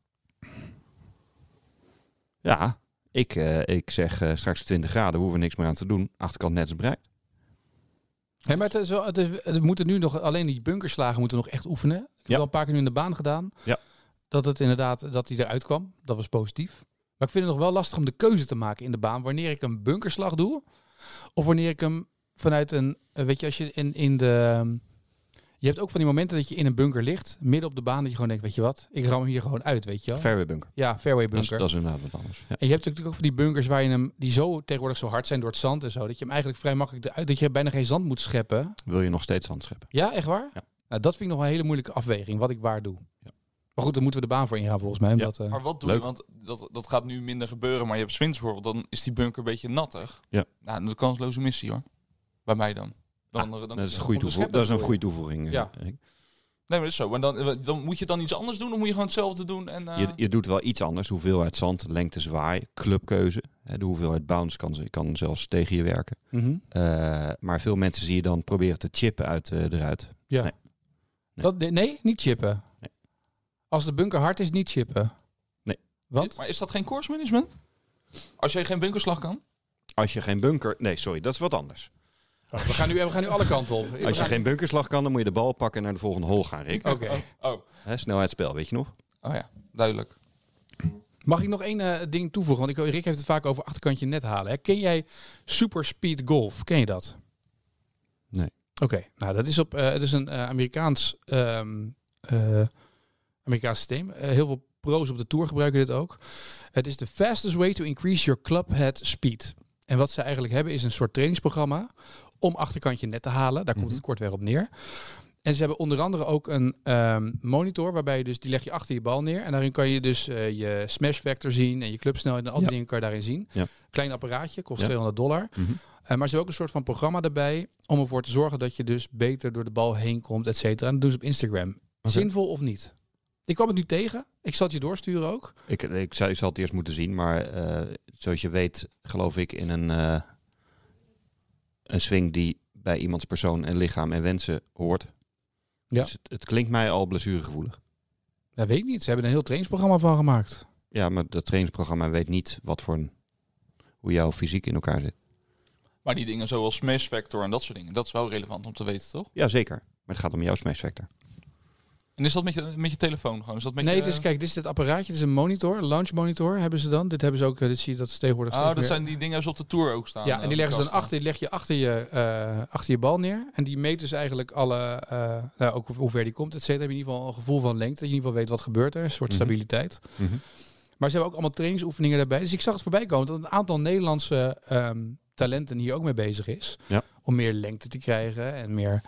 Ja, ik, eh, ik zeg eh, straks 20 graden, hoeven we niks meer aan te doen. Achterkant net is bereikt. Hé, maar het, is wel- het, is- het moeten nu nog alleen die bunkerslagen moeten nog echt oefenen. Ik heb Ja. wel een paar keer nu in de baan gedaan. Ja. Dat het inderdaad dat hij eruit kwam. Dat was positief. Maar ik vind het nog wel lastig om de keuze te maken in de baan wanneer ik een bunkerslag doe of wanneer ik hem vanuit een eh, weet je als je in, in de Je hebt ook van die momenten dat je in een bunker ligt, midden op de baan, dat je gewoon denkt, weet je wat, ik ram hier gewoon uit, weet je wel. Fairway bunker. ja, fairway Dat is, bunker. dat is inderdaad wat anders. Ja. En je hebt natuurlijk ook van die bunkers waar je hem, die zo tegenwoordig zo hard zijn door het zand en zo, dat je hem eigenlijk vrij makkelijk eruit, dat je bijna geen zand moet scheppen. Wil je nog steeds hand scheppen? Ja, echt waar? Ja. Nou, dat vind ik nog een hele moeilijke afweging, wat ik waar doe. Ja. Maar goed, daar moeten we de baan voor ingaan volgens mij. Omdat, eh, Maar wat doe Leuk. je? Want dat, dat gaat nu minder gebeuren. Maar je hebt Swings World, dan is die bunker een beetje nattig. Ja. Nou, dat is kansloze missie hoor. Bij mij dan. dan, eh, dan Dat is een goede, toevoeging. scheppen dat is een bedoel goede toevoeging. Ja. eh, Henk. Nee, maar dat is zo. Maar dan, eh, dan moet je dan iets anders doen? Of moet je gewoon hetzelfde doen? En, Ah. eh, Je, je doet wel iets anders. Hoeveelheid zand, lengte zwaai, clubkeuze. Hè, De hoeveelheid bounce kan, ze- kan zelfs tegen je werken. mhm. Eh, maar veel mensen zie je dan proberen te chippen uit, eh, eruit. Dat, nee, nee, niet chippen. Nee. Als de bunker hard is, niet chippen. Nee. Want? Maar is dat geen course management? Als jij geen bunkerslag kan? Als je geen bunker... Nee, sorry, dat is wat anders. We gaan, nu, we gaan nu alle kanten op. We Als je gaan- geen bunkerslag kan, dan moet je de bal pakken en naar de volgende hole gaan, Rick. Oké. Oh, Hè, snelheidsspel, weet je nog? oh ja, duidelijk. Mag ik nog één eh, ding toevoegen? Want ik, Rick heeft het vaak over achterkantje net halen. Hè. Ken jij Super Speed Golf? Ken je dat? Nee. Oké, nou dat is, op, eh, het is een eh, Amerikaans, ehm, eh, Amerikaans systeem. Eh, heel veel pro's op de tour gebruiken dit ook. Het is de fastest way to increase your clubhead speed. En wat ze eigenlijk hebben is een soort trainingsprogramma om achterkantje net te halen. Daar komt het kort weer op neer. En ze hebben onder andere ook een ehm, monitor waarbij je dus die leg je achter je bal neer. En daarin kan je dus eh, je smash factor zien en je clubsnelheid en al die dingen kan je daarin zien. Ja. Klein apparaatje, kost Ja. 200 dollar. Mhm. Eh, maar ze hebben ook een soort van programma erbij om ervoor te zorgen dat je dus beter door de bal heen komt, et cetera. En dat doen ze op Instagram. Zinvol of niet? Ik kwam het nu tegen. Ik zal het je doorsturen ook. Ik, ik, zou, ik zal het eerst moeten zien, maar eh, zoals je weet, geloof ik in een, eh, een swing die bij iemands persoon en lichaam en wensen hoort. Ja. Dus het, het klinkt mij al blessuregevoelig. Dat weet ik niet. Ze hebben een heel trainingsprogramma van gemaakt. Ja, maar dat trainingsprogramma weet niet wat voor een, hoe jouw fysiek in elkaar zit. Maar die dingen zoals smash factor en dat soort dingen, dat is wel relevant om te weten, toch? Ja, zeker. Maar het gaat om jouw smash factor. En is dat met je, met je telefoon gewoon? Is dat met eh, nee, je, het is, kijk, dit is het apparaatje. Dit is een monitor, een launch monitor hebben ze dan. Dit hebben ze ook, eh, dit zie je dat ze tegenwoordig Oh, steeds dat meer- zijn die dingen als op de tour ook staan. Ja, eh, en die op de leggen ze dan kast achter, die leg je achter je, eh, achter je bal neer. En die meet dus eigenlijk alle, eh nou, ook hoe- hoe ver die komt, et cetera. Heb je in ieder geval een gevoel van lengte, dat je in ieder geval weet wat gebeurt er. Een soort Mhm. stabiliteit. Mhm. Maar ze hebben ook allemaal trainingsoefeningen daarbij. Dus ik zag het voorbij komen dat een aantal Nederlandse ehm, talenten hier ook mee bezig is. Ja. Om meer lengte te krijgen en meer...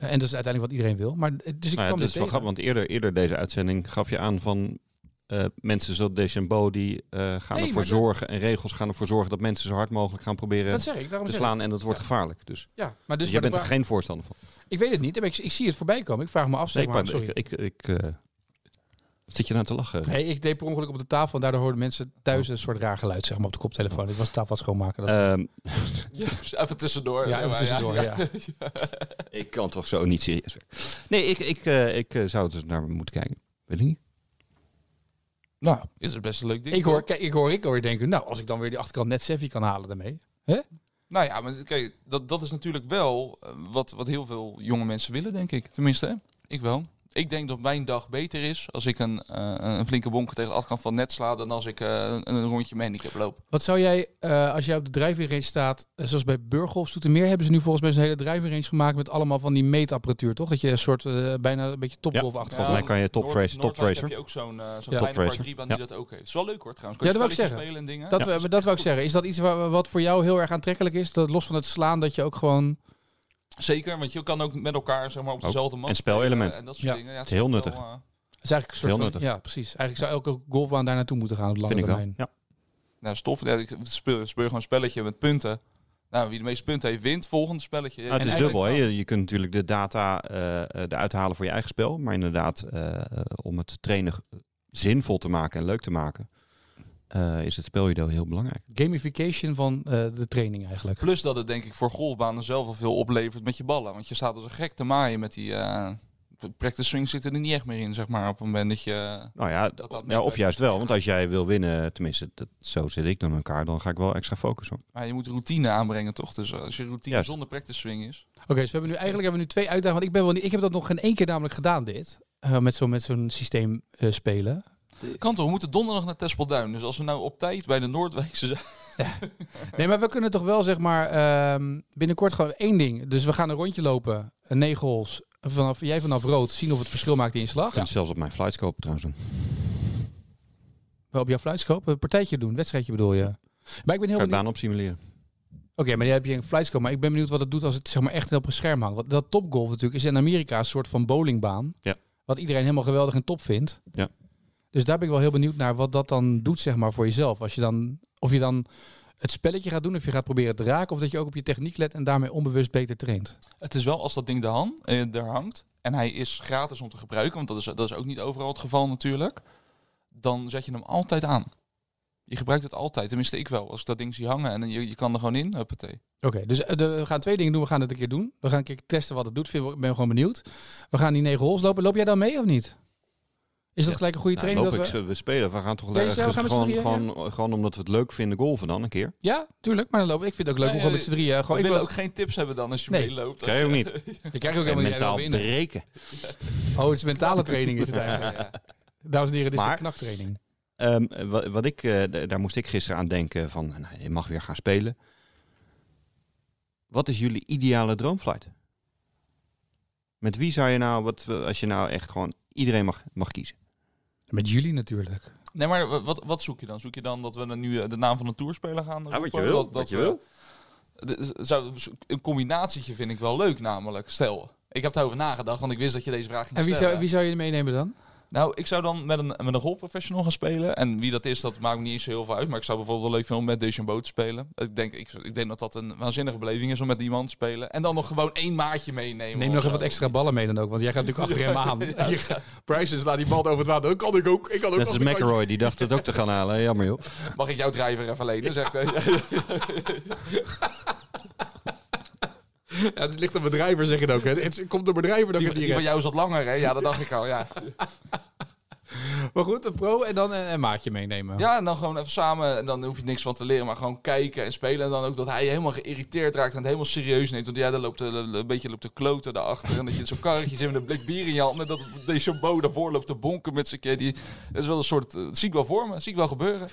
En dat is uiteindelijk wat iedereen wil. Maar, eh, dus ik Nou ja, kwam dat dit is wel tegen. grappig, want eerder, eerder deze uitzending gaf je aan van eh, mensen zoals Deschambeau die eh, gaan Nee, ervoor maar dat- zorgen en regels gaan ervoor zorgen dat mensen zo hard mogelijk gaan proberen Dat zeg ik, daarom te zeg ik. slaan en dat wordt gevaarlijk. Dus, Ja, maar dus maar dus jij de bent er vraag- geen voorstander van. Ik weet het niet, maar ik, ik zie het voorbij komen. Ik vraag me af, zeg maar. ik, sorry. ik, ik, eh, wat zit je nou te lachen? Nee, ik deed per ongeluk op de tafel en daardoor hoorden mensen thuis een soort raar geluid zeg maar, op de koptelefoon. Ik was de tafel aan het schoonmaken. Dat... Ehm, neer. Even ja, tussendoor. zeg even maar, tussendoor. Ja, ik kan toch zo niet serieus werken. Nee, ik, ik, eh, ik eh, zou het naar moeten kijken. Weet ik niet. Nou, is het best een Eh, leuk ding. Ik hoor, kijk, ik hoor Rico weer denken, nou, als ik dan weer die achterkant net Seffi kan halen daarmee. Nou ja, maar kijk, dat, dat is natuurlijk wel eh, wat, wat heel veel jonge mensen willen, denk ik. Tenminste, hè? ik wel. Ik denk dat mijn dag beter is als ik een, eh, een flinke bonker tegen de achterkant van het net sla... dan als ik eh, een, een rondje mijn handicap loop. Wat zou jij, eh, als jij op de driving range staat, eh, zoals bij Burghof Soetermeer, hebben ze nu volgens mij zo'n hele driving range gemaakt met allemaal van die meetapparatuur, toch? Dat je een soort, eh, bijna een beetje topgolf achter. volgens mij kan je top Noord- tracer, top Noordwijk tracer. heb je ook zo'n eh, zo'n Ja. kleine Top part tracer. 3 baan Ja. die dat ook heeft. Is wel leuk hoor trouwens. Ja, Kan je dat wou ik spelletjes zeggen. spelen en dingen. Dat, we- dat wou ik goed. zeggen. Is dat iets wa- wat voor jou heel erg aantrekkelijk is? Dat los van het slaan, dat je ook gewoon... Zeker, want je kan ook met elkaar zeg maar, op Ook. dezelfde mat En spelelementen. spelen En dat soort Ja. dingen. Het is heel wel, nuttig. eh, Het is eigenlijk een soort Heel van- nuttig. Ja, precies. Eigenlijk zou elke golfbaan daar naartoe moeten gaan eh, op de lange Vind ik wel. termijn. Ja. nou, stof. Ja, ik speel, speel gewoon een spelletje met punten. Nou, wie de meeste punten heeft, wint. Volgende spelletje. Nou, het En is eigenlijk- dubbel. Hè? Je, je kunt natuurlijk de data eh, eh, eruit halen voor je eigen spel. Maar inderdaad, eh, eh, om het trainen g- zinvol te maken en leuk te maken, eh, is het speljudo heel belangrijk. Gamification van eh, de training eigenlijk. Plus dat het denk ik voor golfbanen zelf al veel oplevert met je ballen. Want je staat als een gek te maaien met die... eh de practice swing zit er niet echt meer in, zeg maar. Op het moment dat je... eh, Nou ja, Dat dat ja, net- of juist wel. Want als jij wil winnen, tenminste, dat, zo zit ik dan in elkaar, dan ga ik wel extra focussen. hoor. Maar je moet routine aanbrengen, toch? Dus als je routine Juist. zonder practice swing is... Oké, dus we hebben nu eigenlijk hebben we nu twee uitdagingen. Want ik ben wel niet, ik heb dat nog geen één keer namelijk gedaan dit. Eh, met zo'n met zo'n systeem eh, spelen. Kan toch, we moeten donderdag naar Tespelduin. Dus als we nou op tijd bij de Noordwijkse zijn... Nee, maar we kunnen toch wel zeg maar ehm, binnenkort gewoon één ding. Dus we gaan een rondje lopen, eh, negen holes. vanaf, jij vanaf rood zien of het verschil maakt in je slag. Kan het zelfs op mijn flights kopen trouwens doen. Wel op jouw fluitskoop, een partijtje doen, wedstrijdje bedoel je. Maar ik ben heel Kan ik benieuwd. baan op simuleren. Oké, maar die heb je een fluitskoop. Maar ik ben benieuwd wat het doet als het zeg maar echt op een scherm hangt. Want dat topgolf natuurlijk is in Amerika een soort van bowlingbaan. Ja. Wat iedereen helemaal geweldig en top vindt. Ja. Dus daar ben ik wel heel benieuwd naar wat dat dan doet zeg maar voor jezelf. Als je dan, of je dan het spelletje gaat doen, of je gaat proberen te raken. Of dat je ook op je techniek let en daarmee onbewust beter traint. Het is wel als dat ding de han, eh, er hangt en hij is gratis om te gebruiken, want dat is, dat is ook niet overal het geval natuurlijk, dan zet je hem altijd aan. Je gebruikt het altijd, tenminste ik wel, als ik dat ding zie hangen en je, je kan er gewoon in, huppatee. Oké, dus eh, de- we gaan twee dingen doen. We gaan het een keer doen. We gaan een keer testen wat het doet. Vind- Ik ben gewoon benieuwd. We gaan die negen holes lopen. Loop jij dan mee of niet? Is dat gelijk een goede Nou, training? loop ik, dat we- ze- we spelen. We gaan toch Deze, we ergens gaan met z'n gewoon, drieën, gewoon, gewoon omdat we het leuk vinden golven dan een keer. Ja, tuurlijk. Maar dan lopen. Ik vind het ook leuk om Nee, gewoon met z'n drieën. We Gewoon, ik, willen wil, ook geen tips hebben dan als je Nee. meeloopt. Kan je ook niet. ik krijg ook En helemaal niet mentaal helemaal in. breken. Oh, het is mentale training is het eigenlijk. Dames en heren, dit is Maar- de knaktraining. Ehm, wat, wat ik, eh, d- daar moest ik gisteren aan denken van, nou, je mag weer gaan spelen. Wat is jullie ideale droomflight? Met wie zou je nou, wat, eh, als je nou echt gewoon iedereen mag, mag kiezen? Met jullie natuurlijk. Nee, maar wa- wat, wat zoek je dan? Zoek je dan dat we dan nu eh, de naam van een toerspeler gaan roepen? Dat, dat we- D- Zou, een combinatietje vind ik wel leuk namelijk, stel. Ik heb daarover nagedacht, want ik wist dat je deze vraag ging En wie stellen. zou, wie zou je meenemen dan? Nou, ik zou dan met een, met een rolprofessional gaan spelen. En wie dat is, dat maakt me niet eens zo heel veel uit. Maar ik zou bijvoorbeeld wel leuk vinden om met Deschambeau te spelen. Ik denk, ik, ik denk dat dat een waanzinnige beleving is om met iemand te spelen. En dan nog gewoon één maatje meenemen. Neem of nog even zo. wat extra ballen mee dan ook. Want jij gaat natuurlijk achter hem aan. Je gaat- Bryson slaat die bal over het water. Dat kan ik ook. Ik kan ook Net als als een kantje. McElroy, die dacht het ook te gaan halen. Jammer joh. Mag ik jouw drijver even lenen, zegt hij. Ja, het ligt aan bedrijver, zeg je ook. Hè. Het komt door bedrijven dan Die, kan die die van jou zat langer, hè? Ja, dat dacht ik al, ja. Maar goed, een pro en dan een, een maatje meenemen. Ja, en dan gewoon even samen. En dan hoef je niks van te leren, maar gewoon kijken en spelen. En dan ook dat hij helemaal geïrriteerd raakt en het helemaal serieus neemt. Want jij daar loopt eh, een beetje loopt de kloten daarachter. En dat je zo'n karretje zit met een blik bier in je hand. En dat Deschambeau daarvoor loopt te bonken met zijn keer. Die, dat is wel een soort... eh, Dat zie ik wel voor me. Dat zie ik wel gebeuren.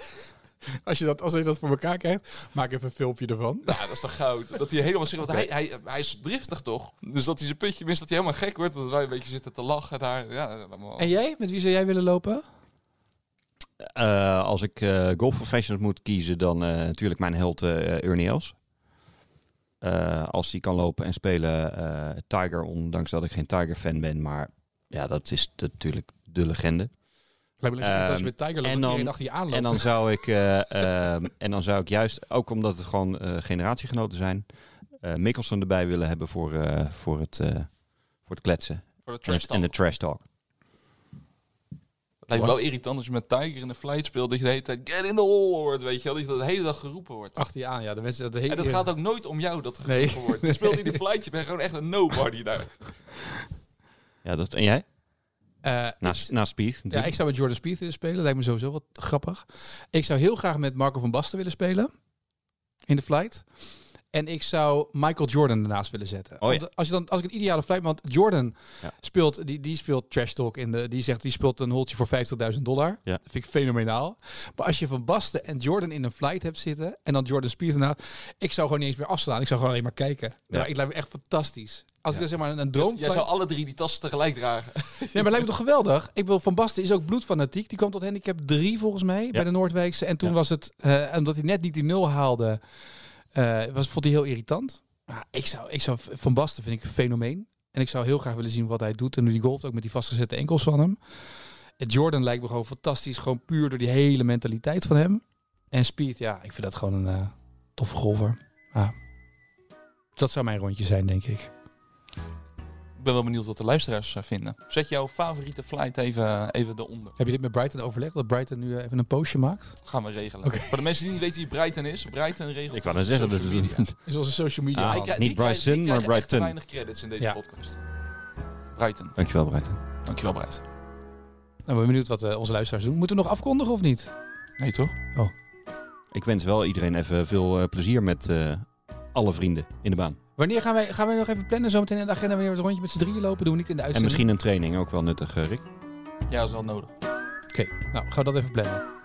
Als, je dat, als je dat voor elkaar krijgt, maak even een filmpje ervan. Nou, dat is toch goud. Dat hij helemaal zich... Want hij, hij, hij is driftig, toch? Dus dat hij zijn putje mist, dat hij helemaal gek wordt. Dat wij een beetje zitten te lachen daar. Ja, allemaal. En jij? Met wie zou jij willen lopen? Eh, als ik eh golf professionals moet kiezen, dan eh, natuurlijk mijn held eh Ernie Els. Eh, als hij kan lopen en spelen, eh, Tiger, ondanks dat ik geen Tiger-fan ben, maar ja, dat is natuurlijk de legende. Lijkt me leuk als je Ehm, met Tiger loopt en en dan- iedereen achter je aanloopt. En dan zou ik, eh, ehm, en dan zou ik juist, ook omdat het gewoon eh, generatiegenoten zijn, eh Mikkelsen erbij willen hebben voor, eh, voor, het, eh, voor het kletsen Voor de en trash het, en de talk. trash talk. Het lijkt me wel irritant als je met Tiger in de flight speelt. Dat je de hele tijd get in the hole hoort, weet je wel. Dat je dat de hele dag geroepen wordt. Achter je aan, ja. De mensen, dat hele... En dat gaat ook nooit om jou dat er Nee. geroepen wordt. Je speelt in de flight, je bent gewoon echt een nobody daar. Ja, dat, en jij? Eh, Naast, naast Spieth Ja, natuurlijk. ik zou met Jordan Spieth willen spelen. Lijkt me sowieso wat grappig. Ik zou heel graag met Marco van Basten willen spelen. In de flight. En ik zou Michael Jordan ernaast willen zetten. Oh ja. Want als, je dan, als ik een ideale flight... Want Jordan Ja. speelt, die, die speelt trash talk. In de, die zegt, die speelt een holtje voor 50.000 dollar. Ja. Dat vind ik fenomenaal. Maar als je Van Basten en Jordan in een flight hebt zitten... en dan Jordan Spieth ernaast... Ik zou gewoon niet eens meer afslaan. Ik zou gewoon alleen maar kijken. Ja. Ja. Ik lijkt me echt fantastisch. Als ik dan zeg maar een, een Dus droomflight... jij zou alle drie die tassen tegelijk dragen. Nee, maar lijkt me toch geweldig. Ik wil Van Basten is ook bloedfanatiek. Die kwam tot handicap 3 volgens mij bij de Noordwijkse. En toen Ja. was het, eh, omdat hij net niet die nul haalde, eh, was, vond hij heel irritant. Maar ik zou, ik zou, Van Basten vind ik een fenomeen. En ik zou heel graag willen zien wat hij doet. En nu die golft ook met die vastgezette enkels van hem. Het Jordan lijkt me gewoon fantastisch. Gewoon puur door die hele mentaliteit van hem. En Speed, ja, ik vind dat gewoon een eh, toffe golfer. Ja. Dat zou mijn rondje zijn, denk ik. Ik ben wel benieuwd wat de luisteraars eh, vinden. Zet jouw favoriete flight even, eh, even eronder. Heb je dit met Brighton overlegd? Dat Brighton nu eh, even een postje maakt? Gaan we regelen. Oké. Voor de mensen die niet weten wie Brighton is, Brighton regelt. Ik wou net zeggen, dat social media. is Is onze social media. Ah, Hij krijgt- niet die krijgen- die Bryson, maar krijgen echt te Brighton. weinig credits in deze Ja. podcast. Brighton. Dankjewel, Breit. Dankjewel, Bright. Nou, ik ben benieuwd wat eh, onze luisteraars doen. Moeten we nog afkondigen of niet? Nee, toch? Ik wens wel iedereen even veel eh, plezier met eh, alle vrienden in de baan. Wanneer gaan wij, gaan wij nog even plannen zometeen in de agenda? Wanneer we het rondje met z'n drieën lopen, doen we niet in de En uitzending. misschien een training, ook wel nuttig, eh, Rick. Ja, dat is wel nodig. Oké, nou gaan we dat even plannen.